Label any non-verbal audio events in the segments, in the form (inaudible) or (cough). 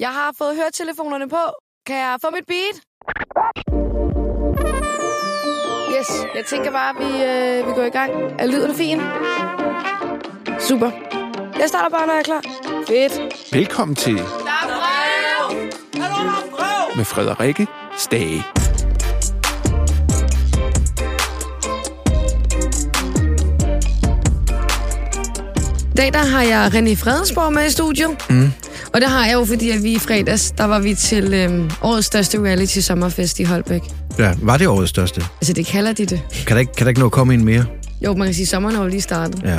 Jeg har fået høretelefonerne på. Kan jeg få mit beat? Yes, jeg tænker bare, at vi, øh, vi går i gang. Er lyden fin? Super. Jeg starter bare, når jeg er klar. Fedt. Velkommen til Der er brev! med Frederikke Stage. I dag der har jeg René Fredensborg med i studiet. Mm. Og det har jeg jo, fordi at vi i fredags, der var vi til øhm, årets største reality sommerfest i Holbæk. Ja, var det årets største? Altså, det kalder de det. Kan der ikke, kan der ikke nå at komme en mere? Jo, man kan sige, at sommeren er jo lige startet. Ja.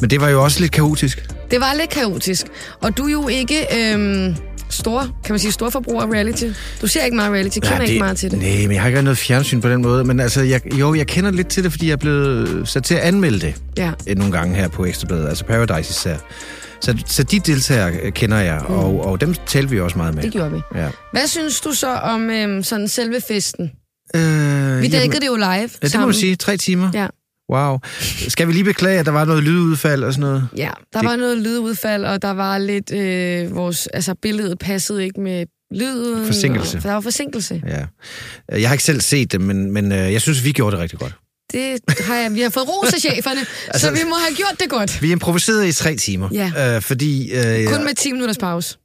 Men det var jo også lidt kaotisk. Det var lidt kaotisk. Og du er jo ikke øhm, stor, kan man sige, storforbruger af reality. Du ser ikke meget reality, kender ikke meget til det. Nej, men jeg har ikke noget fjernsyn på den måde. Men altså, jeg, jo, jeg kender lidt til det, fordi jeg er blevet sat til at anmelde det Ja. øh, nogle gange her på Ekstrabladet, altså Paradise især. Så, så de deltagere øh, kender jeg, mm. og, og dem talte vi også meget med. Det gjorde vi. Ja. Hvad synes du så om øhm, sådan selve festen? Øh, Vi dækkede det jo live ja, Ja, det må man sige. Tre timer. Ja. Wow. Skal vi lige beklage, at der var noget lydudfald og sådan noget? Ja, der Det- var noget lydudfald, og der var lidt øh, vores, altså billedet passede ikke med lyden. Forsinkelse. Og, for der var forsinkelse. Ja. Jeg har ikke selv set det, men, men øh, jeg synes, vi gjorde det rigtig godt. Det har jeg, vi har fået ros af (laughs) cheferne, altså, så vi må have gjort det godt. Vi improviserede i tre timer, Ja. øh, fordi... Øh, Kun med 10 minutters pause.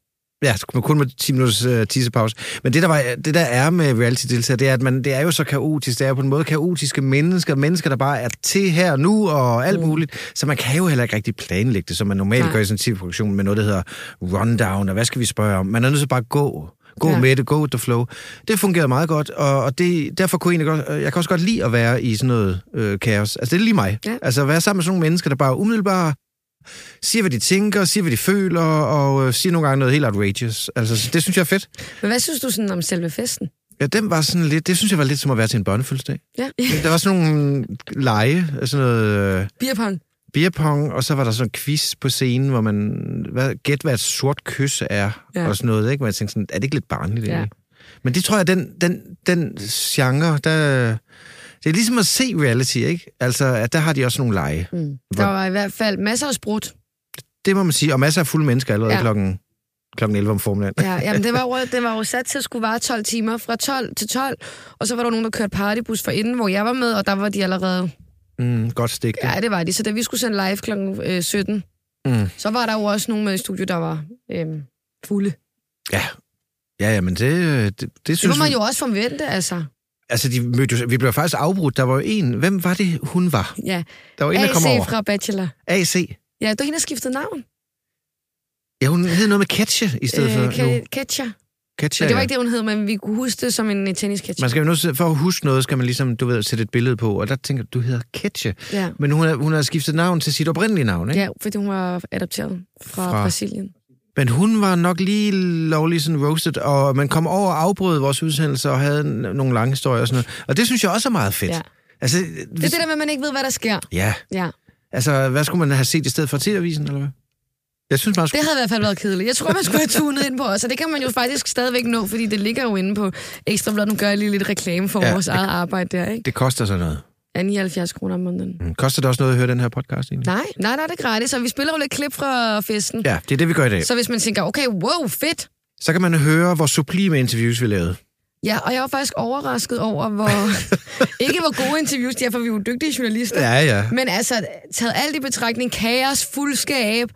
Ja, men kun med 10 minutters øh, tissepause. Men det der, var, det, der er med reality-deltager, det er, at man, det er jo så kaotisk. Det er jo på en måde kaotiske mennesker. Mennesker, der bare er til her og nu og alt mm. muligt. Så man kan jo heller ikke rigtig planlægge det, som man normalt Nej. gør i sådan en tv-produktion med noget, der hedder rundown, og hvad skal vi spørge om? Man er nødt til bare at gå. Gå Ja. ja. med det, gå with the flow. Det fungerede meget godt, og, og det, derfor kunne jeg, egentlig godt, øh, jeg kan også godt lide at være i sådan noget øh, kaos. Altså, det er lige mig. Ja. Altså, at være sammen med sådan nogle mennesker, der bare er umiddelbare, siger, hvad de tænker, siger, hvad de føler, og øh, siger nogle gange noget helt outrageous. Altså, så det synes jeg er fedt. Men hvad synes du sådan om selve festen? Ja, den var sådan lidt, det synes jeg var lidt som at være til en børnefødselsdag. Ja. (laughs) Der var sådan nogle lege, sådan noget øh, Bierpong. beerpong, og så var der sådan en quiz på scenen, hvor man, hvad, gæt hvad et sort kys er, Ja. ja. og sådan noget, ikke? Hvor jeg tænkte sådan, er det ikke lidt barnligt Ja. ja. Men det tror jeg, den, den, den genre, der... Det er ligesom at se reality, ikke? Altså, at der har de også nogle lege. Mm. Der var i hvert fald masser af sprut. Det må man sige, og masser af fulde mennesker allerede Ja. ja. klokken, klokken 11 om formiddagen. Ja, jamen, det var, jo, det var jo sat til at skulle vare 12 timer, fra 12 til 12. Og så var der nogen, der kørte partybus for inden, hvor jeg var med, og der var de allerede... Mm, godt stik. det. Ja, det var de. Så da vi skulle sende live kl. øh, 17, Mm. så var der jo også nogen med i studiet, der var øhm, fulde. Ja. Ja, ja, men det, øh, det, det, det Det må synes man vi... jo også forvente, altså. Altså, de mødte, jo- vi blev faktisk afbrudt. Der var jo en... Hvem var det, hun var? Ja. Der var en, der kom AC over. fra Bachelor. AC. Ja, du hende, der skiftede navn. Ja, hun hed noget med Ketche i stedet øh, for nu. Ke- Ketcher. Ketche, Men det var ja. ikke det, hun hed, men vi kunne huske det som en øh, tennisketcher. Man skal jo nu, se- for at huske noget, skal man ligesom, du ved, sætte et billede på. Og der tænker du, du hedder Ketche. Ja. Men hun har, hun har skiftet navn til sit oprindelige navn, ikke? ja, fordi hun var adopteret fra, fra... Fra- Brasilien. Men hun var nok lige lovlig sådan roasted, og man kom over og afbrød vores udsendelse og havde n- nogle lange historier og sådan noget. Og det synes jeg også er meget fedt. Ja. Ja. Altså, Det er det der med, at man ikke ved, hvad der sker. Ja, Ja. Altså, hvad skulle man have set i stedet for TV-avisen, eller hvad? Jeg synes, man Det skulle... havde i hvert fald været kedeligt. Jeg tror, man skulle have tunet ind på os, og det kan man jo faktisk stadigvæk nå, fordi det ligger jo inde på Ekstrabladet. Nu gør jeg lige lidt reklame for ja, Ja, vores det- eget arbejde der, ikke? Det koster så noget. Ja, 79 kroner om måneden. Mm. Koster det også noget at høre den her podcast, egentlig? Nej, nej, nej, det er gratis, og vi spiller jo lidt klip fra festen. Ja. Ja, det er det, vi gør i dag. Så, Så hvis man tænker, okay, wow, fedt, så kan man høre, hvor sublime interviews vi lavede. Ja, og jeg var faktisk overrasket over, (laughs) hvor... ikke hvor gode interviews de er, for vi er jo dygtige journalister. Ja, ja. Men altså, taget alt i betragtning, kaos, fuldskab.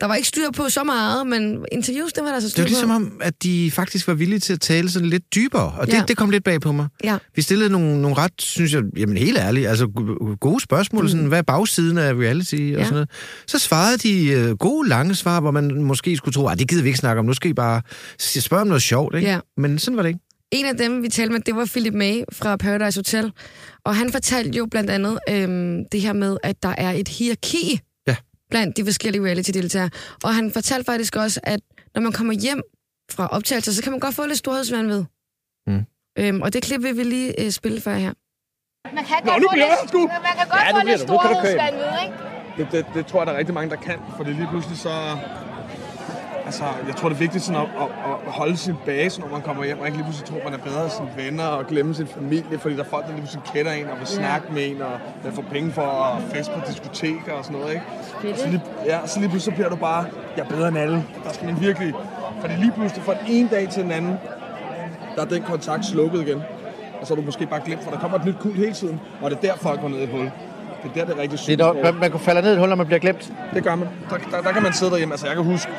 Der var ikke styr på så meget, men interviews, det var der altså Det styr var ligesom på. om, at de faktisk var villige til at tale sådan lidt dybere, og det, Ja. ja. det kom lidt bag på mig. Ja. Vi stillede nogle, nogle ret, synes jeg, jamen helt ærligt, altså go- gode spørgsmål, mm. sådan, hvad er bagsiden af reality og Ja. sådan noget. Så svarede de øh, gode, lange svar, hvor man måske skulle tro, at det gider vi ikke snakke om, nu skal I bare s- spørge om noget sjovt, ikke? Ja. Men sådan var det ikke. En af dem, vi talte med, det var Philip May fra Paradise Hotel. Og han fortalte jo blandt andet øhm, det her med, at der er et hierarki Ja. blandt de forskellige reality-deltagere. Og han fortalte faktisk også, at når man kommer hjem fra optagelser, så kan man godt få lidt storhedsvandvid. Mm. Øhm, og det klip vil vi lige øh, spille for jer her. Man kan Nå, godt nu få bliver lidt- jeg sgu. Man kan godt Ja, få nu bliver lidt du. Nu kan du køre hjem. storhedsvandvid, ikke? Det, det, det tror jeg, der er rigtig mange, der kan, for det lige pludselig så... Altså, jeg tror, det er vigtigt sådan at, at, at holde sin base, når man kommer hjem, og ikke lige pludselig tro, man er bedre end sine venner, og glemme sin familie, fordi der er folk, der lige pludselig kender en, og vil snakke med en, og man får penge for at feste på diskoteker og sådan noget, ikke? Så lige, ja, så lige pludselig så bliver du bare, jeg er bedre end alle. Der skal man virkelig Fordi lige pludselig fra den ene dag til den anden, der er den kontakt slukket igen. Og så er du måske bare glemt, for der kommer et nyt kul hele tiden, og det er der, folk går ned i et hul. Det er der, det er rigtig Det er sygt. dog, man, man kunne falde ned i et hul, når man bliver glemt. Det gør man. Der, der, der kan man sidde derhjemme. Altså, jeg kan huske,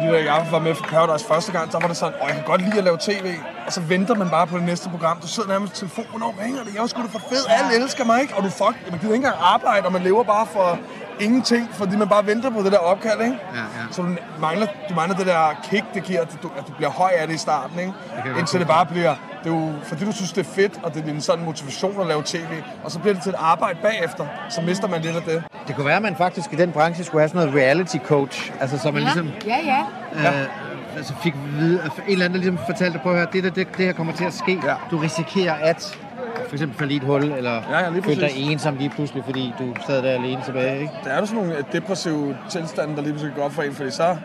lige da jeg var med for Paradise første gang, der var det sådan, åh, jeg kan godt lide at lave tv. Og så venter man bare på det næste program. Du sidder nærmest med telefonen, hvornår ringer det? Jeg er sgu da for fed. Alle elsker mig, ikke? Og du fuck, man gider ikke engang arbejde, og man lever bare for ingenting, fordi man bare venter på det der opkald, ikke? Ja, ja. Så du mangler, du mangler det der kick, det giver, at du, at du bliver høj af det i starten, ikke? godt Indtil det bare bliver, det er jo, fordi du synes, det er fedt, og det er din sådan motivation at lave tv, og så bliver det til et arbejde bagefter, så mister man lidt af det. Det kunne være, at man faktisk i den branche skulle have sådan noget reality coach. Altså, så man ligesom Ja, ja. øh, altså fik at vide, at en eller anden der ligesom fortalte, prøv at høre, det, der, det, det her kommer til at ske. Ja. Du risikerer at for eksempel falde i et hul, eller Ja, ja, lige føle dig præcis. ensom lige pludselig, fordi du sad der alene tilbage, ikke? Der er jo sådan nogle øh, depressive tilstande, der lige pludselig går op for en, fordi så...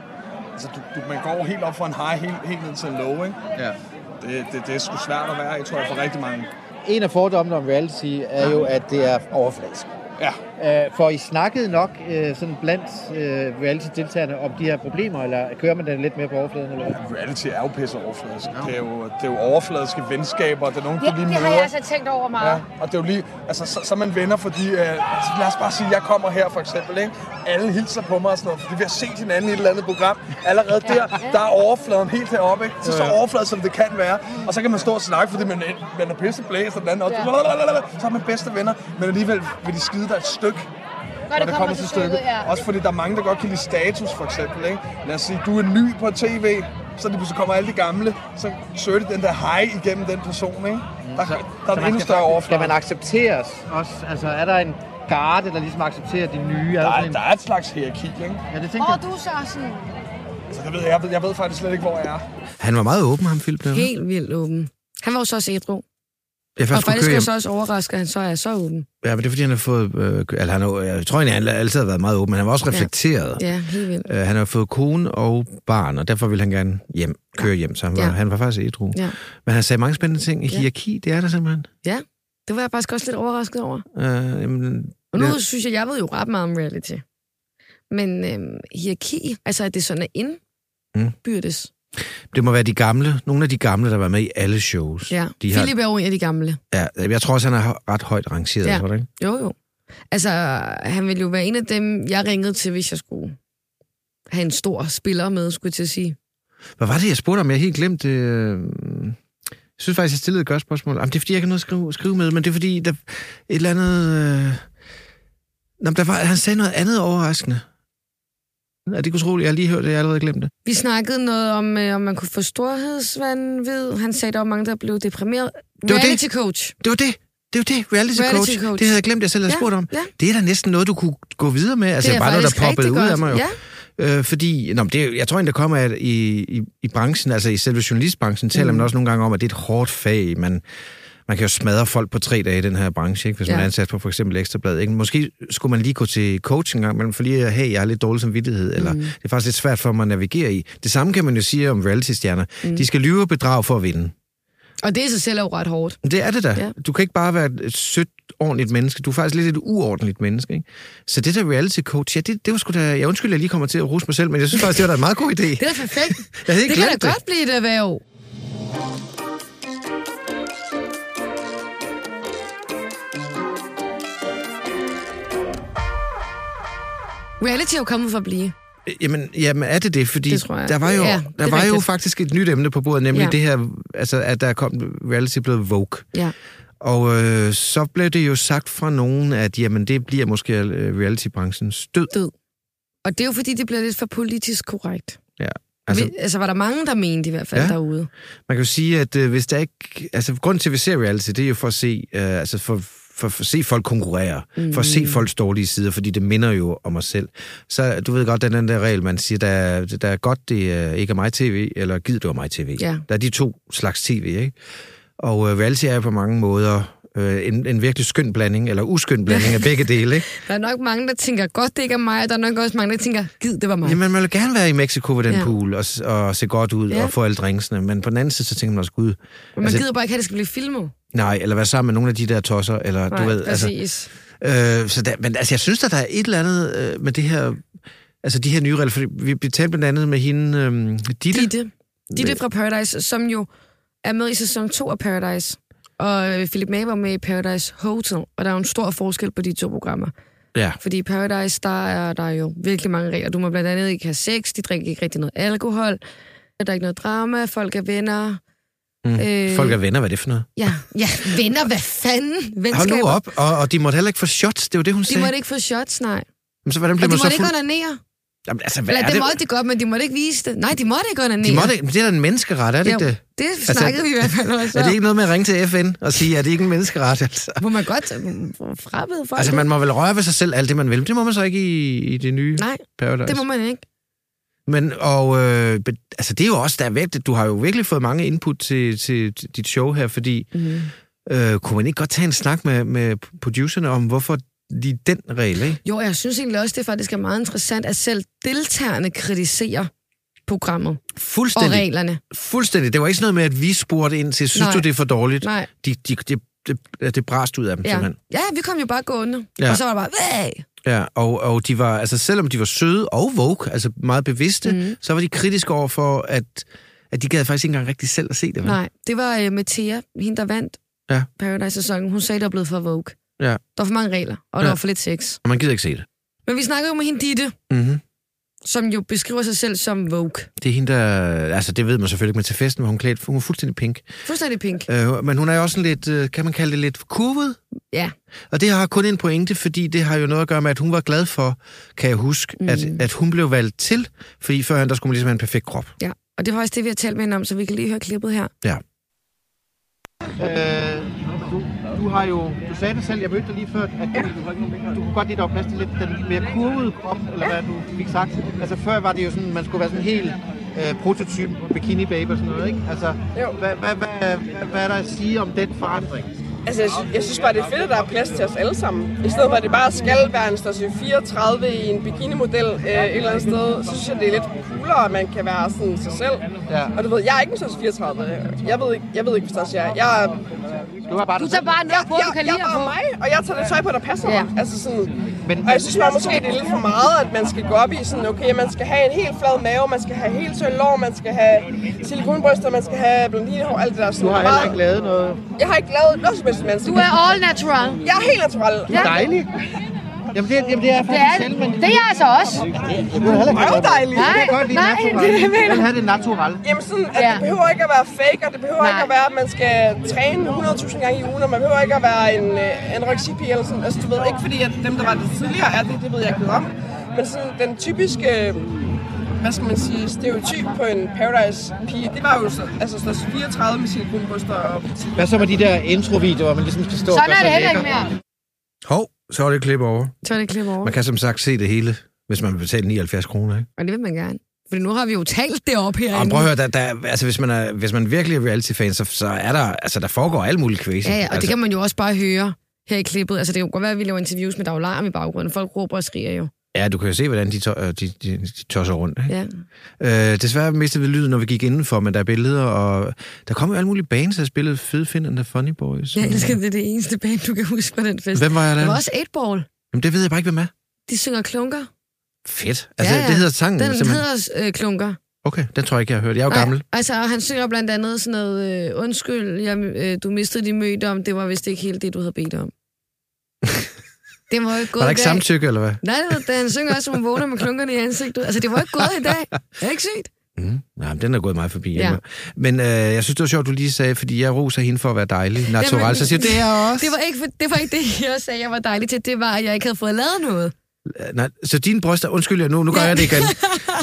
Altså, du, du, man går helt op fra en high, helt, helt ned til en low, ikke? Ja. Det, det, det er sgu svært at være i, tror jeg, for rigtig mange. En af fordommene om reality er jo, at det er overfladisk. Ja. Øh, for I snakkede nok øh, sådan blandt øh, reality-deltagerne om de her problemer, eller kører man den lidt mere på overfladen? Eller? hvad? Reality er jo pisse overfladisk. Det, er jo, det er jo overfladiske venskaber, det er nogen, ja du lige det møder. har jeg altså tænkt over meget. Ja, og det er jo lige, altså, så, så er man venner, fordi, øh, altså, lad os bare sige, jeg kommer her for eksempel, ikke? Alle hilser på mig og sådan noget, fordi vi har set hinanden i et eller andet program. Allerede der, der er overfladen helt heroppe, ikke? Så, så overflad, som det kan være. Og så kan man stå og snakke, fordi man, man er pisse blæst, og den anden også. Ja. Lalalala, Så er man bedste venner, men alligevel vil de skide dig et stykke, Når når det kommer til stykket. ja. Også fordi der er mange, der godt kan lide status, for eksempel. Ikke? Lad os sige, du er ny på tv, så lige pludselig kommer alle de gamle, så søger de den der hej igennem den person, ikke? Der, der er en endnu større Skal overflade. Mm. man accepteres også? Altså, er der en garde, der ligesom accepterer de nye? Er Der sådan er, en... der er et slags hierarki, ikke? Ja, det tænkte Hvor jeg. er du så sådan... Altså, jeg, ved, jeg, ved, jeg ved faktisk slet ikke, hvor jeg er. Han var meget åben, ham Philip. Der. Helt vildt åben. Han var jo så også ædru. Jeg Og først skulle faktisk køre er hjem. jeg så også overrasket, at han så er så åben. Ja, men det er fordi, han har fået... Øh, altså, han, er- jeg tror egentlig, han altid har været meget åben, men han var også reflekteret. Ja, helt vildt. Øh, han har fået kone og barn, og derfor ville han gerne hjem, køre hjem, så han var, Ja. ja. han var faktisk ædru. Ja. Men han sagde mange spændende ting. Ja. Hierarki, det er der simpelthen. Det var jeg faktisk også lidt overrasket over. Øh, jamen, Og nu Ja. ja. synes jeg, jeg ved jo ret meget om reality. Men øhm, hierarki, altså at det sådan er indbyrdes. det må være de gamle, nogle af de gamle, der var med i alle shows. Ja. Mm. De har, Philip er jo en af de gamle. ja, jeg tror også, han er ret højt rangeret, Ja. ja. tror du ikke? Jo, jo. Altså, han ville jo være en af dem, jeg ringede til, hvis jeg skulle have en stor spiller med, skulle jeg til at sige. Hvad var det, jeg spurgte om? Jeg har helt glemt det. Øh, Jeg synes faktisk, jeg stillede et godt spørgsmål. Jamen, det er, fordi jeg ikke har noget at skrive, skrive med, men det er, fordi der et eller andet... Øh... Nå, men der var, han sagde noget andet overraskende. Er det utroligt? Jeg har lige hørt det, jeg har allerede glemt det. Vi snakkede noget om, øh, om man kunne få storhedsvandvid. Han sagde, der var mange, der blev deprimeret. det. Reality coach. Det var det. Det var det, reality, Reality coach. coach. Det havde jeg glemt, jeg selv havde Ja, spurgt om. ja. Det er da næsten noget, du kunne gå videre med. Altså, det er bare noget, der faktisk poppede rigtig ud godt. af mig jo. Ja, Øh, fordi, nå, men det, er- jeg tror egentlig, det kommer af, at i, i, i branchen, altså i selve journalistbranchen, taler Mm. man også nogle gange om, at det er et hårdt fag. Man, man kan jo smadre folk på tre dage i den her branche, ikke? hvis ja. man Ja. er ansat på for eksempel Ekstrabladet. Ikke? Måske skulle man lige gå til coaching en gang, men for lige at, hey, jeg har lidt dårlig samvittighed, Mm. eller det er faktisk lidt svært for mig at navigere i. Det samme kan man jo sige om reality-stjerner. Mm. De skal lyve og bedrage for at vinde. og det i sig selv er jo ret hårdt. Men Det er det da. Ja. Ja. Du kan ikke bare være et sødt, ordentligt menneske. Du er faktisk lidt et uordentligt menneske, ikke? Så det der reality coach, ja, det, det var sgu da... Jeg undskylder, jeg lige kommer til at rose mig selv, men jeg synes faktisk, det var da en meget god idé. Det er da perfekt. (laughs) Jeg det havde ikke kan da glemt det. godt blive et erhverv. Reality er jo kommet for at blive. Jamen, jamen, er det det? Fordi Det tror jeg. der var jo, Ja, ja, det der er var jo rigtigt. faktisk et nyt emne på bordet, nemlig ja. Ja. det her, altså, at der kom reality blevet Vogue. Ja. Og øh, så blev det jo sagt fra nogen, at jamen, det bliver måske øh, reality-branchens død. Død. Og det er jo fordi, det bliver lidt for politisk korrekt. Altså, Altså, Vi, altså var der mange, der mente i hvert fald Ja. ja. derude. Man kan jo sige, at øh, hvis der ikke... Altså, grunden til, at vi ser reality, det er jo for at se, øh, altså for, for, for at se folk konkurrere, mm. for at se folks dårlige sider, fordi det minder jo om os selv. Så du ved godt, den anden der regel, man siger, der, er- der er godt, det er ikke er mig tv, eller gid du er mig tv. Ja. Der er de to slags tv, ikke? Og øh, reality er jo på mange måder øh, en, en virkelig skøn blanding, eller uskøn blanding af begge dele, ikke? Der er nok mange, der tænker, godt det ikke er mig, og der er nok også mange, der tænker, gid det var mig. Jamen, man vil gerne være i Mexico ved den ja. Ja. pool, og, s- og se godt ud, ja. Ja. og få alle drinksene, men på den anden side, så tænker man også, gud... Men man altså, gider bare ikke, at det skal blive filmet. Nej, eller være sammen med nogle af de der tosser, eller Nej, du ved, altså, præcis. øh, så der, men altså, jeg synes, at der er et eller andet øh, med det her, Altså de her nye regler, fordi vi vi talte blandt andet med hende, øhm, Ditte. Ditte. Ditte fra Paradise, som jo er med i sæson 2 af Paradise. Og øh, Philip May var med i Paradise Hotel, og der er jo en stor forskel på de to programmer. Ja. Fordi i Paradise, der er der er jo virkelig mange regler. Du må blandt andet ikke have sex, de drikker ikke rigtig noget alkohol, der er ikke noget drama, folk er venner. Mm. Øh, Folk er venner, hvad er det for noget? Ja, ja (laughs) venner, hvad fanden? Hold Venskaber. nu op, og, og de måtte heller ikke få shots, det var det, hun De sagde. måtte ikke få shots, nej. Men så hvordan Og blev de man så måtte ikke fuld? onanere. Jamen, altså, hvad Eller er det, det? måtte de godt, men de måtte ikke vise det. Nej, de måtte ikke onanere. De måtte ikke, men det er da en menneskeret, er det ikke Jo, det? det snakkede altså, vi i hvert fald også Er det om. ikke noget med at ringe til FN og sige, at det ikke er en menneskeret? Altså? Må man godt frabede folk? altså, man må vel røre ved sig selv alt det, man vil. men Det må man så ikke i, i det nye Nej, Paradise. det må man ikke. Men, og, øh, be- altså, det er jo også, der er vigtigt. Du har jo virkelig fået mange input til, til dit show her, fordi Mm. øh, kunne man ikke godt tage en snak med, med producerne om, hvorfor lige den regel, ikke? Jo, jeg synes egentlig også, det faktisk er meget interessant, at selv deltagerne kritiserer programmet og Fuldstændig. reglerne. Fuldstændig. Det var ikke sådan noget med, at vi spurgte ind til, synes Nej. du, det er for dårligt? Nej, De, de, de, det, det brast ud af dem, ja. simpelthen. Ja, vi kom jo bare gående. Ja. Mm. Og så var det bare, Væh! Ja, og, og de var, altså selvom de var søde og woke, altså meget bevidste, mm. Mhm. så var de kritiske over for, at, at de gad faktisk ikke engang rigtig selv at se det. vel? Nej, det var øh, Mattea, hende der vandt Ja. Paradise-sæsonen. Hun sagde, der var blevet for vogue. Ja. Der var for mange regler, og ja. Ja. der var for lidt sex. Og man gider ikke se det. Men vi snakkede jo med hende Ditte, Mm-hmm. som jo beskriver sig selv som vogue. Det er hende, der... Altså, det ved man selvfølgelig ikke, men til festen var hun klædt... Hun var fuldstændig pink. Fuldstændig pink. Øh, men hun er jo også sådan lidt... Øh, kan man kalde det lidt kurvet? Ja. Og det har kun en pointe, fordi det har jo noget at gøre med, at hun var glad for, kan jeg huske, mm. at, at hun blev valgt til, fordi førhen, der skulle man ligesom have en perfekt krop. Ja. Og det var også det, vi har talt med hende om, så vi kan lige høre klippet her. Ja. Øh, du, du har jo, du sagde det selv, jeg mødte dig lige før, at du, du kunne godt lide, at der var plads til lidt den lidt mere kurvede krop, eller hvad du fik sagt. Altså før var det jo sådan, man skulle være sådan helt øh, prototypen bikini babe og sådan noget, ikke? Altså, hvad, hvad, hvad, hvad, hvad er der at sige om den forandring? Altså, jeg, sy- jeg synes bare, det er fedt, at der er plads til os alle sammen. I stedet for, at det bare skal være en størrelse 34 i en bikinimodel øh, et eller andet sted, så synes jeg, det er lidt coolere, at man kan være sådan sig selv. Ja. Og du ved, jeg er ikke en størrelse 34. Jeg ved ikke, jeg ved ikke, hvad størrelse jeg er. Jeg, er- Du har bare Du dig tager selv. bare noget jeg, på, du kan jeg, jeg lide er at bare få. mig, og jeg tager det tøj på, der passer mig. Ja. Altså sådan, Men- og jeg synes bare måske, det er lidt for meget, at man skal gå op i sådan, okay, man skal have en helt flad mave, man skal have helt tynd lår, man skal have silikonbryster, man skal have blondinehår, alt det der. Sådan Du har heller meget- ikke lavet noget Jeg har ikke lavet noget som helst, man Du er all natural. Jeg er helt natural. Ja. dejligt. Jamen det, jamen det er Det er, faktisk selv, men det er jeg altså også. jeg kunne heller ikke Røv dejligt. Jeg Nej, kan godt lide nej, natural. det er det, jeg Jeg vil have det natural. Jamen sådan, at Ja. det behøver ikke at være fake, og det behøver Nej. ikke at være, at man skal træne 100.000 gange i ugen, og man behøver ikke at være en øh, anoreksipige eller sådan. Altså du ved, ikke fordi at dem, der var det tidligere, er det, det ved jeg ikke noget om. Men sådan den typiske, øh, hvad skal man sige, stereotyp på en Paradise-pige, det var jo så, altså sådan 34 med sine guldbryster og Hvad så med de der introvideoer, hvor man ligesom skal stå og Sådan gøre er sig det heller lækker? ikke mere. Hov, så er det klip over. Så er det klip over. Man kan som sagt se det hele, hvis man vil betale 79 kroner, ikke? Og det vil man gerne. For nu har vi jo talt det op herinde. Og prøv at høre, der, der, altså, hvis, man er, hvis man virkelig er reality-fan, så, så er der, altså, der foregår alt muligt crazy. Ja, ja, og altså, det kan man jo også bare høre her i klippet. Altså, det kan jo godt være, at vi laver interviews med daglarm i baggrunden. Folk råber og skriger jo. ja, du kan jo se, hvordan de, to, øh, de, de, de tosser rundt. Ikke? Ja. Ja. Øh, desværre mistede vi lyden, når vi gik indenfor, men der er billeder, og der kom jo alle mulige bands, der spillede Fede Finn and the Funny Boys. Jeg elsker, det er det eneste band, du kan huske fra den fest. Hvem var jeg der? Der var også 8-Ball. Jamen, det ved jeg bare ikke, hvem er. De synger klunker. Fedt. Altså, Ja, ja. det hedder sangen Den simpelthen. hedder også øh, klunker. Okay, den tror jeg ikke, jeg har hørt. Jeg er jo gammel. altså, og han synger blandt andet sådan noget, øh, undskyld, jeg, øh, du mistede din mødom, det var vist ikke helt det, du havde bedt om. (laughs) det var jo ikke gået Var der i ikke dag. samtykke, eller hvad? Nej, det var- han synger også, at hun vågner med klunkerne i ansigtet. Altså, det var ikke gået i dag. Er det ikke sygt? Mm. Nej, men den er gået meget forbi. Ja. Ja. Men øh, jeg synes, det var sjovt, du lige sagde, fordi jeg roser hende for at være dejlig. Natural, så siger du, det er jeg også. Det var, ikke, for, det var ikke det, jeg sagde, jeg var dejlig til. Det var, at jeg ikke havde fået lavet noget. Øh, Nej, så dine bryster, undskyld, jeg- nu, nu gør jeg det (laughs) igen.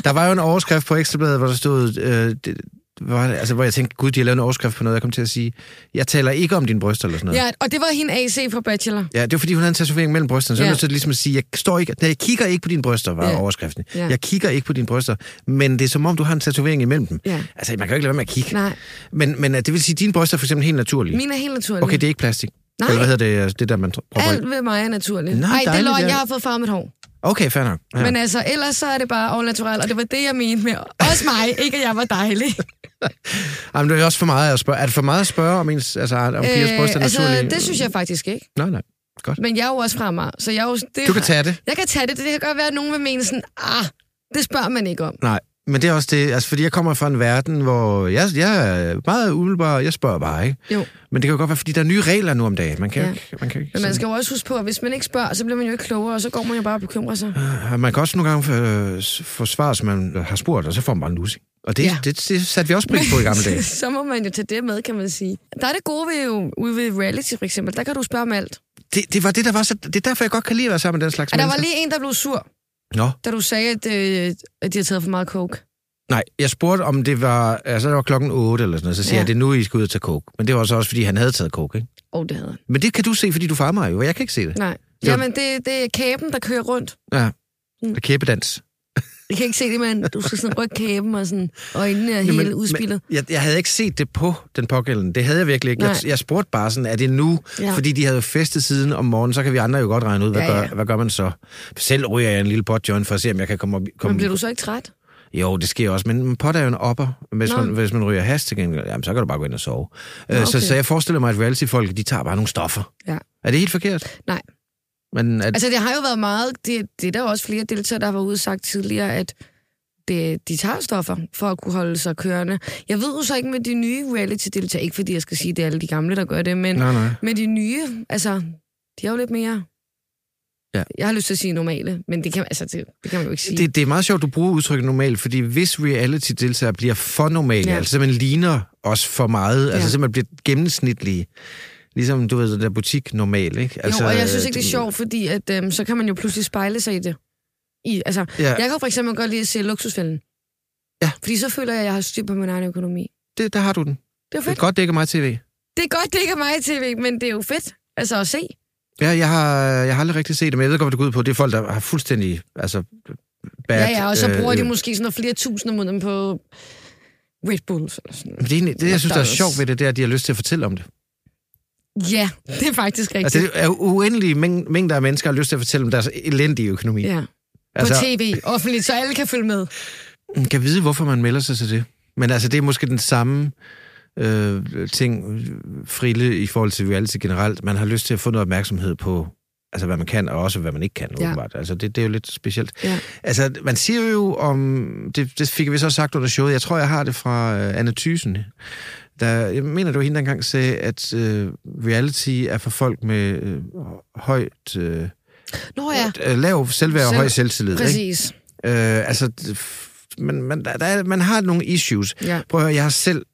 Der var jo en overskrift på Ekstrabladet, hvor der stod, øh, det, hvor, altså, hvor jeg tænkte, gud, de har lavet en overskrift på noget, jeg kom til at sige, jeg taler ikke om dine bryster eller sådan noget. Ja, og det var hende AC fra Bachelor. Ja, det var fordi, hun havde en tatovering mellem brysterne, så Ja. ja. jeg ligesom at sige, jeg, står ikke, nej, jeg kigger ikke på dine bryster, var Ja. ja. overskriften. Ja. Ja. Jeg kigger ikke på dine bryster, men det er som om, du har en tatovering imellem dem. Ja. Altså, man kan jo ikke lade være med at kigge. Nej, Men, men øh, det vil sige, at dine bryster er for eksempel helt naturlige. mine er helt naturlige. Okay, det er ikke plastik. Nej. Eller hvad hedder det, øh, det der, man prøver Alt ved mig er naturligt. Nå, Nej, det er dejligt, løgn, ja. jeg har fået farvet mit hår. Okay, fair nok. Ja. Men altså, ellers så er det bare all natural, og det var det, jeg mente med også mig. Ikke, at jeg var (laughs) dejlig. Jamen, det er også for meget at spørge. Er det for meget at spørge om, ens, altså, om pigers bryst er altså, naturlige? det synes jeg faktisk ikke. Nej, nej. Godt. Men jeg er jo også fra mig, så jeg er jo... Det Du kan tage det. Jeg kan tage det. Det kan godt være, at nogen vil mene sådan, ah, Det spørger man ikke om. Nej, men det er også det, altså fordi jeg kommer fra en verden, hvor jeg, jeg er meget umiddelbar, jeg spørger bare, ikke? Jo. Men det kan jo godt være, fordi der er nye regler nu om dagen. Man kan, ja. Ja. ikke, man kan, ikke Men man skal jo også huske på, at hvis man ikke spørger, så bliver man jo ikke klogere, og så går man jo bare og bekymrer sig. sådan, man kan også nogle gange øh, s- få svar, som man har spurgt, og så får man bare en lussing. Og det, ja. Ja. det, det satte vi også pris på i gamle dage. (laughs) så må man jo tage det med, kan man sige. Der er det gode ved jo, ude ved reality for eksempel, der kan du spørge om alt. Det, det var det, der var så... Det er derfor, jeg godt kan lide at være sammen med den slags Og der var mennesker. lige en, der blev sur, Nå, da du sagde, at, øh, at de havde taget for meget coke. nej, jeg spurgte, om det var... Altså, det var klokken 8 eller sådan noget, så siger ja. Ja. jeg, det er nu, I skal ud og tage coke. Men det var så også, fordi han havde taget coke, ikke? Åh, oh, det havde han. Men det kan du se, fordi du farmer jo, og jeg kan ikke se det. Nej. var- Jamen, det, det er kæben, der kører rundt. Ja. Mm. Mm. Kæbedans. Jeg kan ikke se det, men du skal sådan rykke kæben og sådan, øjnene er Jamen, helt men- udspillet. Jeg, jeg havde ikke set det på den pågældende. Det havde jeg virkelig ikke. Jeg, Nej. jeg spurgte bare sådan, er det nu? Ja. Ja. Fordi de havde jo festet siden om morgenen, så kan vi andre jo godt regne ud, hvad, ja, Ja, ja. ja. Gør, hvad gør man så? Selv ryger jeg en lille pot joint for at se, om jeg kan komme op. Komme... Men bliver du så ikke træt? Jo, det sker også, men pot er jo en opper. Hvis, Nå. man, hvis man ryger has til gengæld, jamen, så kan du bare gå ind og sove. Nå, okay. Nå, så, okay. så jeg forestiller mig, at reality-folk, de tager bare nogle stoffer. Ja. Er det helt forkert? Nej. Men at, altså, Altså, det har jo været meget... Det, det er der jo også flere deltagere, der har været ude og sagt tidligere, at det, de tager stoffer for at kunne holde sig kørende. Jeg ved jo så ikke med de nye reality-deltagere, ikke fordi jeg skal sige, at det er alle de gamle, der gør det, men nej, nej. med de nye, altså, de er jo lidt mere... Ja. Jeg har lyst til at sige normale, men det kan, altså, det, det kan man jo ikke sige. Det, det er meget sjovt, du bruger udtrykket normalt, fordi hvis reality-deltager bliver for normale, ja. Ja. altså simpelthen ligner os for meget, ja. altså Ja. simpelthen bliver gennemsnitlige, ligesom du ved, den der butik normal, ikke? Altså, Altså, jo, og jeg synes ikke, det er du- sjovt, fordi at, øhm, så kan man jo pludselig spejle sig i det. I, altså, Ja. ja. Jeg kan jo for eksempel godt lide at se luksusfælden. Ja. Fordi så føler jeg, at jeg har styr på min egen økonomi. Det, der har du den. Det er jo Det er fedt. godt, det ikke er mig tv. Det er godt, det ikke er mig i tv, men det er jo fedt altså, at se. Ja, jeg har, jeg har aldrig rigtig set det, men jeg ved godt, hvad det går ud på. Det er folk, der har fuldstændig, altså... Bad, ja, ja, og så bruger øh, de øh, måske sådan noget flere tusinder mod dem på Red Bulls eller sådan Men noget. det, er egentlig- det, jeg synes, der er McDonald's. sjovt ved det, det er, at de har lyst til at fortælle om det. Ja, det er faktisk rigtigt. Altså, det er jo uendelige mæng- mængder af mennesker, der har lyst til at fortælle om deres elendige økonomi. ja. På altså, tv, offentligt, så alle kan følge med. Man kan vide, hvorfor man melder sig til det. Men altså, det er måske den samme øh, ting, øh, frille i forhold til reality generelt. Man har lyst til at få noget opmærksomhed på, altså hvad man kan, og også hvad man ikke kan, ja. Ja. åbenbart. Altså, det, det er jo lidt specielt. Ja. Altså, man siger jo om... Det, det fik vi så sagt under showet. Jeg tror, jeg har det fra øh, Anna Thysen. Der, jeg mener, du hende, der engang sagde, at øh, reality er for folk med øh, højt... Øh, Nå ja, øh, lav selvværd og Selv- høj selvtillid. ikke? præcis. Øh, altså, d- f- man, man, der, der er, man har nogle issues. Ja. Prøv at høre, jeg har selv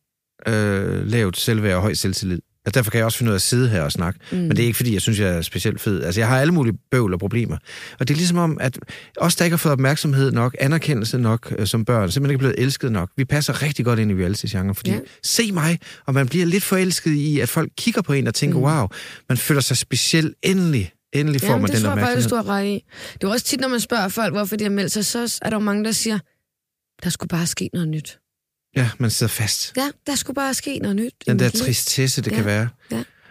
øh, lavet selvværd og høj selvtillid. Altså, derfor kan jeg også finde ud af at sidde her og snakke. Mm. Men det er ikke, fordi jeg synes, jeg er specielt fed. Altså, jeg har alle mulige bøvl og problemer. Og det er ligesom om, at os, der ikke har fået opmærksomhed nok, anerkendelse nok øh, som børn, simpelthen ikke er blevet elsket nok. Vi passer rigtig godt ind i reality-genre, fordi ja. Ja. se mig, og man bliver lidt forelsket i, at folk kigger på en og tænker, mm. wow, man føler sig speciel. Endelig, endelig får man det den tror jeg faktisk, opmærksomhed. du har ret i. Det er jo også tit, når man spørger folk, hvorfor de har meldt sig, så er der jo mange, der siger, der skulle bare ske noget nyt. Ja, man sidder fast. Ja, der skulle bare ske noget nyt. i Den der mit liv. tristesse, det ja. Ja, kan være.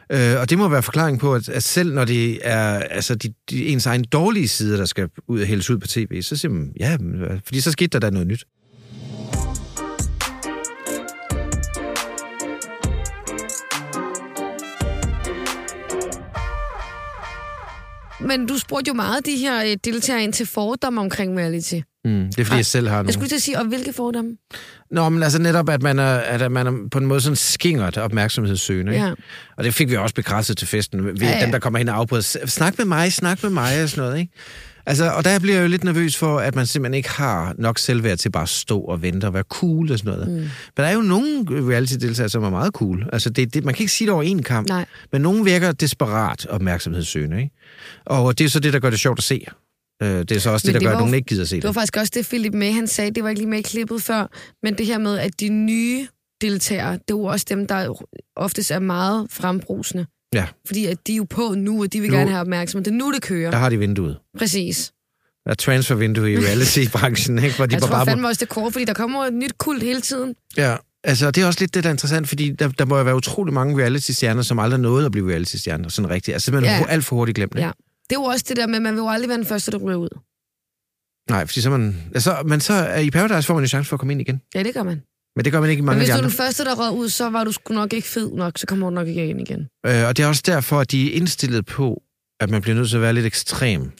ja. Øh, og det må være forklaring på, at, at selv når det er altså de, de, ens egen dårlige sider, der skal ud og hældes ud på tv, så siger man, ja, men, øh, fordi så skete der da noget nyt. Men du spurgte jo meget de her øh, deltagere ind til fordomme omkring reality. Mm, det er fordi, jeg selv har Jeg nogle. skulle til at sige, og hvilke fordomme? Nå, men altså netop, at man er, at man er på en måde sådan skingert opmærksomhedssøgende. ikke? Ja. Og det fik vi også bekræftet til festen. Vi, ja, Ja, ja. ja. Dem, der kommer hen og afbryder, "S- snak med mig, snak med mig og sådan noget, ikke? Altså, og der bliver jeg jo lidt nervøs for, at man simpelthen ikke har nok selvværd til bare at stå og vente og være cool og sådan noget. Mm. Men der er jo nogle reality-deltagere, som er meget cool. Altså, det, det, man kan ikke sige det over en kamp. Nej. Men nogen virker desperat opmærksomhedssøgende, ikke? Og det er så det, der gør det sjovt at se. Øh, Det er så også Men det, der det gør, var at jo- nogen ikke gider se Det var det. faktisk også det, Philip med, han sagde, det var ikke lige med i klippet før, men det her med, at de nye deltagere, det er jo også dem, der oftest er meget frembrusende. Ja. Fordi at de er jo på nu, og de vil Nu- nu. gerne have opmærksomhed. Det er nu, det kører. Der Ja. har de vinduet. Præcis. Der er transfervindue i reality-branchen, ikke? Hvor de Jeg bare tror bare må fandme også, det er kort, fordi der kommer et nyt kult hele tiden. Ja, altså det er også lidt det, der er interessant, fordi der, der må jo være utrolig mange reality-stjerner, som aldrig nåede at blive reality-stjerner, sådan rigtigt. Altså simpelthen ja. Ja. alt for hurtigt glemt. Ja. Ja. Det er jo også det der med, at man vil jo aldrig være den første, der ryger ud. Nej, fordi så er man... Altså, men så er i Paradise får man jo chance for at komme ind igen. Ja, det gør man. Men det gør man ikke i Men mange af hvis de du er andre. den første, der rød ud, så var du sgu nok ikke fed nok, så kommer du nok ikke ind igen. Øh, og det er også derfor, at de er indstillet på, at man bliver nødt til at være lidt ekstrem.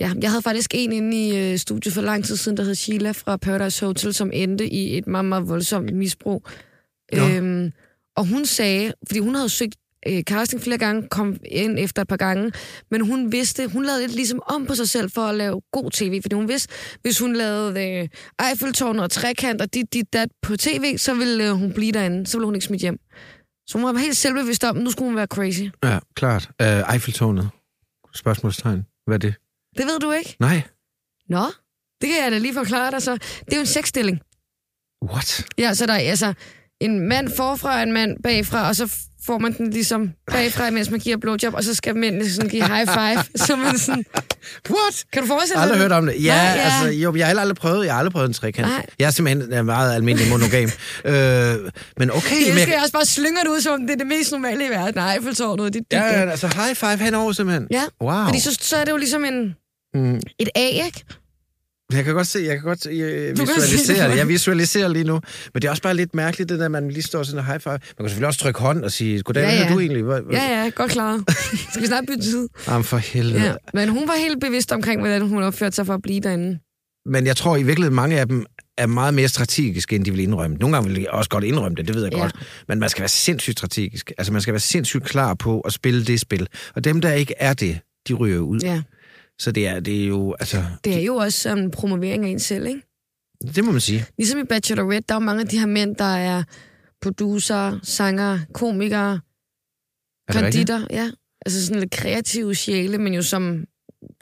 Ja, jeg havde faktisk en inde i øh, studiet for lang tid siden, der hed Sheila fra Paradise Hotel, som endte i et meget, meget voldsomt misbrug. Øhm, og hun sagde, fordi hun havde søgt øh, casting flere gange, kom ind efter et par gange, men hun vidste, hun lavede lidt ligesom om på sig selv for at lave god tv, fordi hun vidste, hvis hun lavede øh, Eiffeltårn og trekant og dit, dit, dat på tv, så ville øh, hun blive derinde, så ville hun ikke smidt hjem. Så hun var helt selvbevidst om, nu skulle hun være crazy. Ja, klart. Øh, Eiffeltårnet. Spørgsmålstegn. Hvad er det? Det ved du ikke? Nej. Nå, det kan jeg da lige forklare dig så. Det er jo en sexstilling. What? Ja, så der er altså en mand forfra og en mand bagfra, og så f- får man den ligesom bagfra, mens man giver blowjob, og så skal mændene sådan give high (laughs) five. så man sådan, What? kan du forestille dig aldrig det? hørt om det. Ja, Nej, ja, altså, jo, jeg har heller aldrig prøvet, jeg har aldrig prøvet en trekant. Nej. Jeg er simpelthen øh, meget almindelig (laughs) monogam. øh, men okay, Jeg men elsker, jeg også bare slynger det ud, som om det er det mest normale i verden. Nej, Eiffeltårnet, det er dit. Ja, ja, altså high five henover simpelthen. ja. Wow. Fordi så, så er det jo ligesom en, Mm. et A, ikke? Jeg kan godt se, jeg kan godt øh, se det visualisere for det. mig. Jeg visualiserer lige nu. Men det er også bare lidt mærkeligt, det der, at man lige står sådan og high five. Man kan selvfølgelig også trykke hånd og sige, goddag, Ja, hvad ja. ja. du egentlig? Hvor, hvor? Ja, ja, godt (laughs) klaret. Skal vi snart bytte tid? Jamen for helvede. Ja. Men hun var helt bevidst omkring, hvordan hun opførte sig for at blive derinde. Men jeg tror i virkeligheden, mange af dem er meget mere strategiske, end de vil indrømme. Nogle gange vil de også godt indrømme det, det ved jeg Ja. ja. godt. Men man skal være sindssygt strategisk. Altså man skal være sindssygt klar på at spille det spil. Og dem, der ikke er det, de ryger ud. Ja. Ja. Så det er, det er jo, altså, Det er jo også sådan en promovering af en selv, ikke? det må man sige. Ligesom i Bachelorette, der er jo mange af de her mænd, der er producer, sanger, komikere, Er det rigtigt? konditor, ja. Altså sådan lidt kreative sjæle, men jo som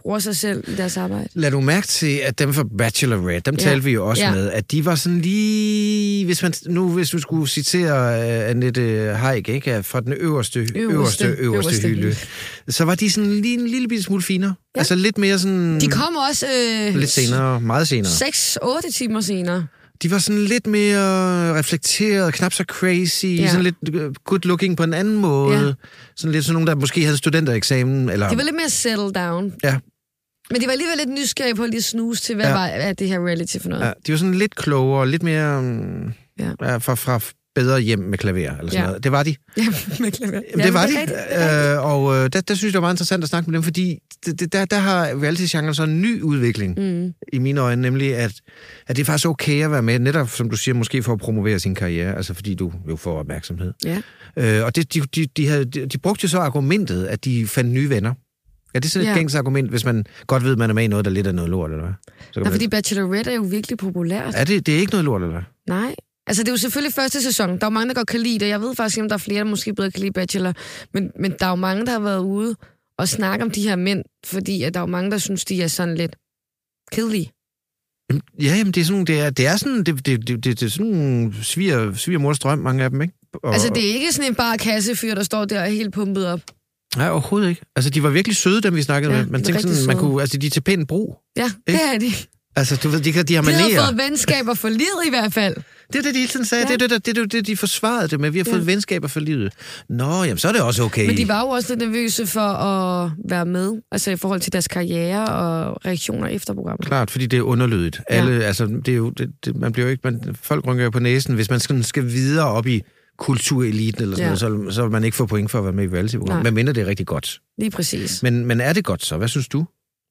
bruger sig selv i deres arbejde. Lad du mærke til, at dem fra Bachelorette, dem Ja. ja. talte vi jo også Ja. ja. med, at de var sådan lige... Hvis man, nu hvis du skulle citere uh, Annette Haik, ikke? Fra den øverste, øverste, øverste, øverste, øverste øverste hylde. Så var de sådan lige en lille bitte smule finere. Ja. Altså lidt mere sådan... De kom også øh, Lidt senere, meget senere. 6-8 timer senere. De var sådan lidt mere reflekteret, knap så crazy, Ja. ja. sådan lidt øh, good looking på en anden måde. Ja. Ja. Sådan lidt sådan nogen, der måske havde studentereksamen, eller... Det var lidt mere settle down. Ja. Men de var alligevel lidt nysgerrige på at lige snuse til, hvad, ja. Ja. var, hvad er det her reality for noget. (laughs) Ja, de var sådan lidt klogere, lidt mere mm, Ja. ja. Ja, fra, fra bedre hjem med klaver, eller sådan Ja. ja. noget. Det var de. Ja, med klaver. Jamen, det var det de. er rigtigt, det er Øh, og øh, der, der synes jeg, det var meget interessant at snakke med dem, fordi det, det, der, der har reality-genren så en ny udvikling, mm. i mine øjne, nemlig at, at det er faktisk okay at være med, netop som du siger, måske for at promovere sin karriere, altså fordi du jo får opmærksomhed. Ja. Øh, og det, de, de, de, havde, de, de brugte jo så argumentet, at de fandt nye venner. Er det sådan et Ja. ja. gængs argument, hvis man godt ved, at man er med i noget, der lidt er noget lort, eller hvad? Så kan Nå, man... fordi Bachelorette er jo virkelig populært. Er det, det er ikke noget lort, eller hvad? Nej. Altså, det er jo selvfølgelig første sæson. Der er jo mange, der godt kan lide det. Jeg ved faktisk ikke, om der er flere, der måske bedre kan lide Bachelor. Men, men der er jo mange, der har været ude og snakke om de her mænd, fordi at der er jo mange, der synes, de er sådan lidt kedelige. Jamen, Ja, jamen, det er sådan, nogle- det er, det er sådan, det, det, det, det, det er sådan nogle sviger, svigermors drøm, mange af dem, ikke? Og, Altså, det er ikke sådan en bare kassefyr, der står der og er helt pumpet op. Nej, overhovedet ikke. Altså, de var virkelig søde, dem vi snakkede Ja, med. de var Man tænkte rigtig sådan, man søde. kunne, altså, de er til pæn brug. Ja, det er de. Altså, du ved, de, kan- de har De har manerer. fået venskaber for livet i hvert fald. Det er det, de hele tiden sagde. Ja. Ja. Det, er det, der- det, det, det, de forsvarede det med. Vi har fået Ja. venskaber for livet. Nå, jamen, så er det også okay. Men de var jo også lidt nervøse for at være med, altså i forhold til deres karriere og reaktioner efter programmet. Klart, fordi det er underlydigt. Ja. Alle, altså, det er jo, det, det, man bliver jo ikke, man, folk rynker jo på næsen. Hvis man sådan skal videre op i kultureliten eller sådan Ja. ja. noget, så, så vil man ikke få point for at være med i Nej. reality-programmet. Men minder det er rigtig godt. Lige præcis. Men, men er det godt så? Hvad synes du?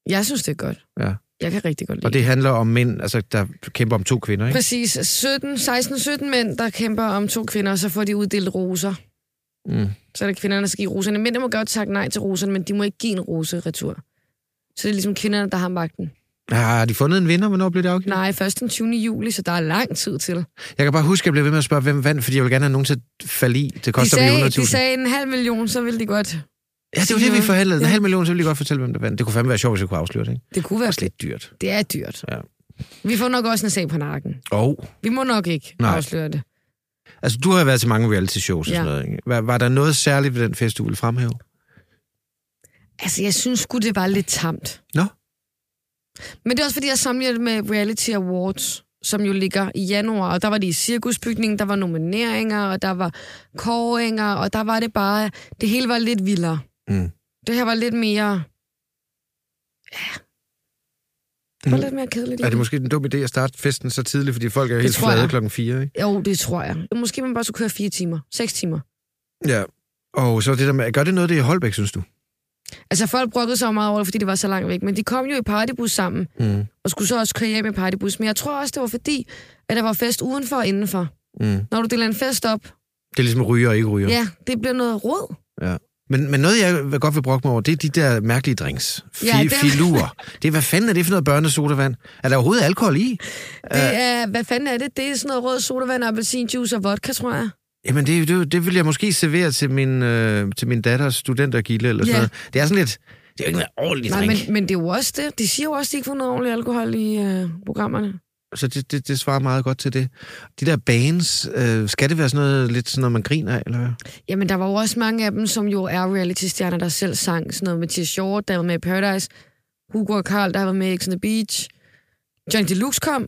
Jeg synes, det er godt. Ja. Jeg kan rigtig godt lide Og det handler om mænd, altså, der kæmper om to kvinder, ikke? Præcis. 17, 16, 17 mænd, der kæmper om to kvinder, og så får de uddelt roser. Mm. Så er det kvinderne, der skal give roserne. Mændene må godt takke nej til roserne, men de må ikke give en rose retur. Så det er ligesom kvinderne, der har magten. Har de fundet en vinder? Hvornår blev det afgivet? Nej, først den 20. juli, så der er lang tid til. Jeg kan bare huske, at jeg blev ved med at spørge, hvem vandt, fordi jeg ville gerne have nogen til at falde i. Det De koster mig sagde, de 100.000. sagde en halv million, så ville de godt. Ja, det var det, vi forhandlede. En Ja. halv million, så ville jeg godt fortælle, hvem der vandt. Det kunne fandme være sjovt, hvis jeg kunne afsløre det, ikke? Det kunne være Det er lidt dyrt. Det er dyrt. Ja. Vi får nok også en sag på nakken. Og, Vi må nok ikke Nej. afsløre det. altså, du har været til mange reality shows og Ja. sådan noget, ikke? Var, var der noget særligt ved den fest, du ville fremhæve? Altså, jeg synes sgu, det var lidt tamt. Nå. Men det er også, fordi jeg sammenligner det med Reality Awards, som jo ligger i januar, og der var det i cirkusbygningen, der var nomineringer, og der var kåringer, og der var det bare, det hele var lidt vildere. Mm. Det her var lidt mere... Ja. Det var lidt mere kedeligt. Er det måske en dum idé at starte festen så tidligt, fordi folk er jo Det helt tror jeg. flade klokken 4, ikke? Jo, det tror jeg. Måske man bare skulle køre fire timer, seks timer. Ja. Og så det der med, gør det noget, det er i Holbæk, synes du? Altså folk brokkede så meget over det, fordi det var så langt væk, men de kom jo i partybus sammen, mm. og skulle så også køre hjem i partybus. Men jeg tror også, det var fordi, at der var fest udenfor og indenfor. Mm. Når du deler en fest op, Det er ligesom ryger og ikke ryger. ja, det bliver noget råd. Ja. Men, men noget, jeg vil godt vil brokke mig over, det er de der mærkelige drinks. Fi, Ja, ja, dem. Filur. Det er, hvad fanden er det for noget børnesodavand? Er der overhovedet alkohol i? Det er, hvad fanden er det? Det er sådan noget rød sodavand, appelsinjuice og vodka, tror jeg. Jamen, det, det, det vil jeg måske servere til min, øh, til min datters studentergilde eller sådan Ja. ja. noget. Det er sådan lidt... Det er jo ikke en ordentlig Nej, drink. men, men det er jo også det. De siger jo også, at de ikke får noget ordentlig alkohol i øh, programmerne. Så det, det, det svarer meget godt til det. De der bands, øh, skal det være sådan noget, lidt sådan noget, man griner af, eller hvad? Jamen, der var jo også mange af dem, som jo er reality-stjerner, der selv sang. Sådan noget med Tia Short, der var med i Paradise. Hugo og Carl, der var med i X on the Beach. Johnny Deluxe kom.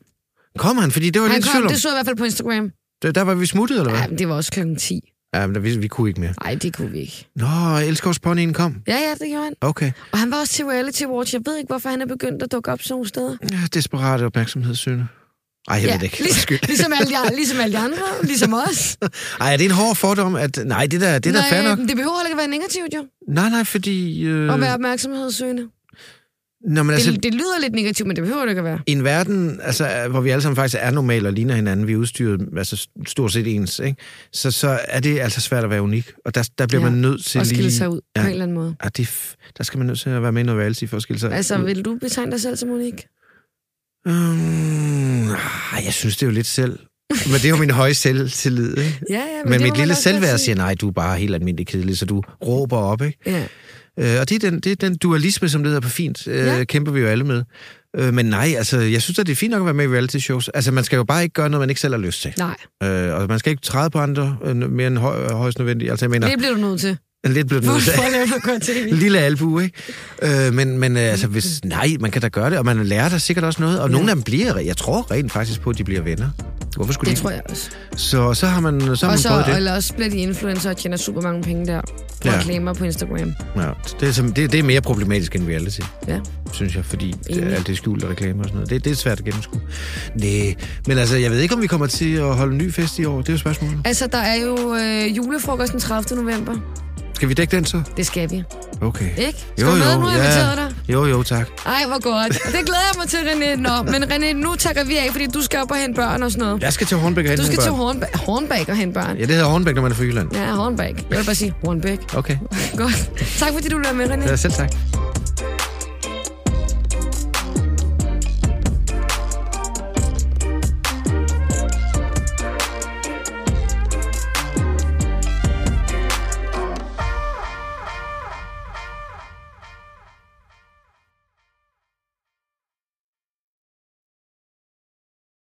Kommer han? Fordi det var Han lidt kom, tvivl om. det så jeg i hvert fald på Instagram. Der- Der var vi smuttet, eller hvad? Ja, men det var også klokken 10. Ja, men vi, vi kunne ikke mere. Nej, det kunne vi ikke. Nå, elskovsponyen kom. Ja, ja, det gjorde han. Okay. Og han var også til Reality Watch. Jeg ved ikke, hvorfor han er begyndt at dukke op sådan nogle steder. Ja, desperat opmærksomhed, Søne. Ej, jeg ja, ved det ikke. Ligesom, Undskyld. ligesom, alle de, ligesom alle de andre, ligesom os. Ej, er det en hård fordom, at... Nej, det der, det der Nej, fair nok. men (laughs) det behøver heller ikke at være negativt, jo. Nej, nej, fordi... Øh... At være opmærksomhedssøgende. Nå, men altså, Det, det lyder lidt negativt, men det behøver det ikke at være. i en verden, altså, hvor vi alle sammen faktisk er normale og ligner hinanden, vi er udstyret altså, stort set ens, ikke? Så, så er det altså svært at være unik, og der, der bliver Ja, ja. man nødt til Og skille lige... sig ud ja. Ja. på en eller anden måde. Ah, det, er f- der skal man nødt til at være med i noget reality for at skille sig Altså, ud. vil du betegne dig selv som unik? Øhm, ah, jeg synes det jo lidt selv. Men det er jo min høje selvtillid, ikke? (laughs) Ja, ja, det Men, men må mit man lille også godt selvværd sige. siger, nej, du er bare helt almindelig kedelig, så du råber op, ikke? Ja. Øh, og det er, den, det er den dualisme, som det hedder på fint, øh, Ja. ja. kæmper vi jo alle med. Øh, men nej, altså, jeg synes at det er fint nok at være med i reality shows. Altså, man skal jo bare ikke gøre noget, man ikke selv har lyst til. Nej, Øh, og man skal ikke træde på andre øh, mere end høj, øh, højst nødvendigt. Altså, jeg mener, det bliver du nødt til. lidt, lidt blev det For, nødt til. for at lave noget godt tv. En (laughs) lille albu, ikke? Øh, men men øh, altså, hvis, nej, man kan da gøre det, og man lærer der sikkert også noget. Og ja. nogle af dem bliver, jeg tror rent faktisk på, at de bliver venner. Hvorfor skulle Det de? tror jeg også. Så, så har man, så har Og man så, prøvet det. eller også bliver de influencer og tjener super mange penge der. Og Ja. reklamer på Instagram. Ja, det, er, som- det, det er mere problematisk end reality. Ja. synes jeg, fordi Enig. Enig. alt det skjulte reklamer og sådan noget, det, det er svært at gennemskue. Næh, men altså, jeg ved ikke, om vi kommer til at holde en ny fest i år. Det er jo spørgsmålet. Altså, der er jo øh, julefrokost den 30. november. Skal vi dække den så? Det skal vi. Okay. Ikke? Skal du med? Nu har jeg inviteret dig. Jo, jo, tak. Ej, hvor godt. Det glæder jeg mig til, René. Nå, men René, nu takker vi af, fordi du skal op og hente børn og sådan noget. Jeg skal til Hornbæk og hente Du skal nogle til børn. Hornbæk, Hornbæk og hente børn. Ja, det hedder Hornbæk, når man er fra Jylland. Ja, Hornbæk. Jeg vil bare sige Hornbæk. Okay. Godt. Tak fordi du blev med, René. Ja, selv tak.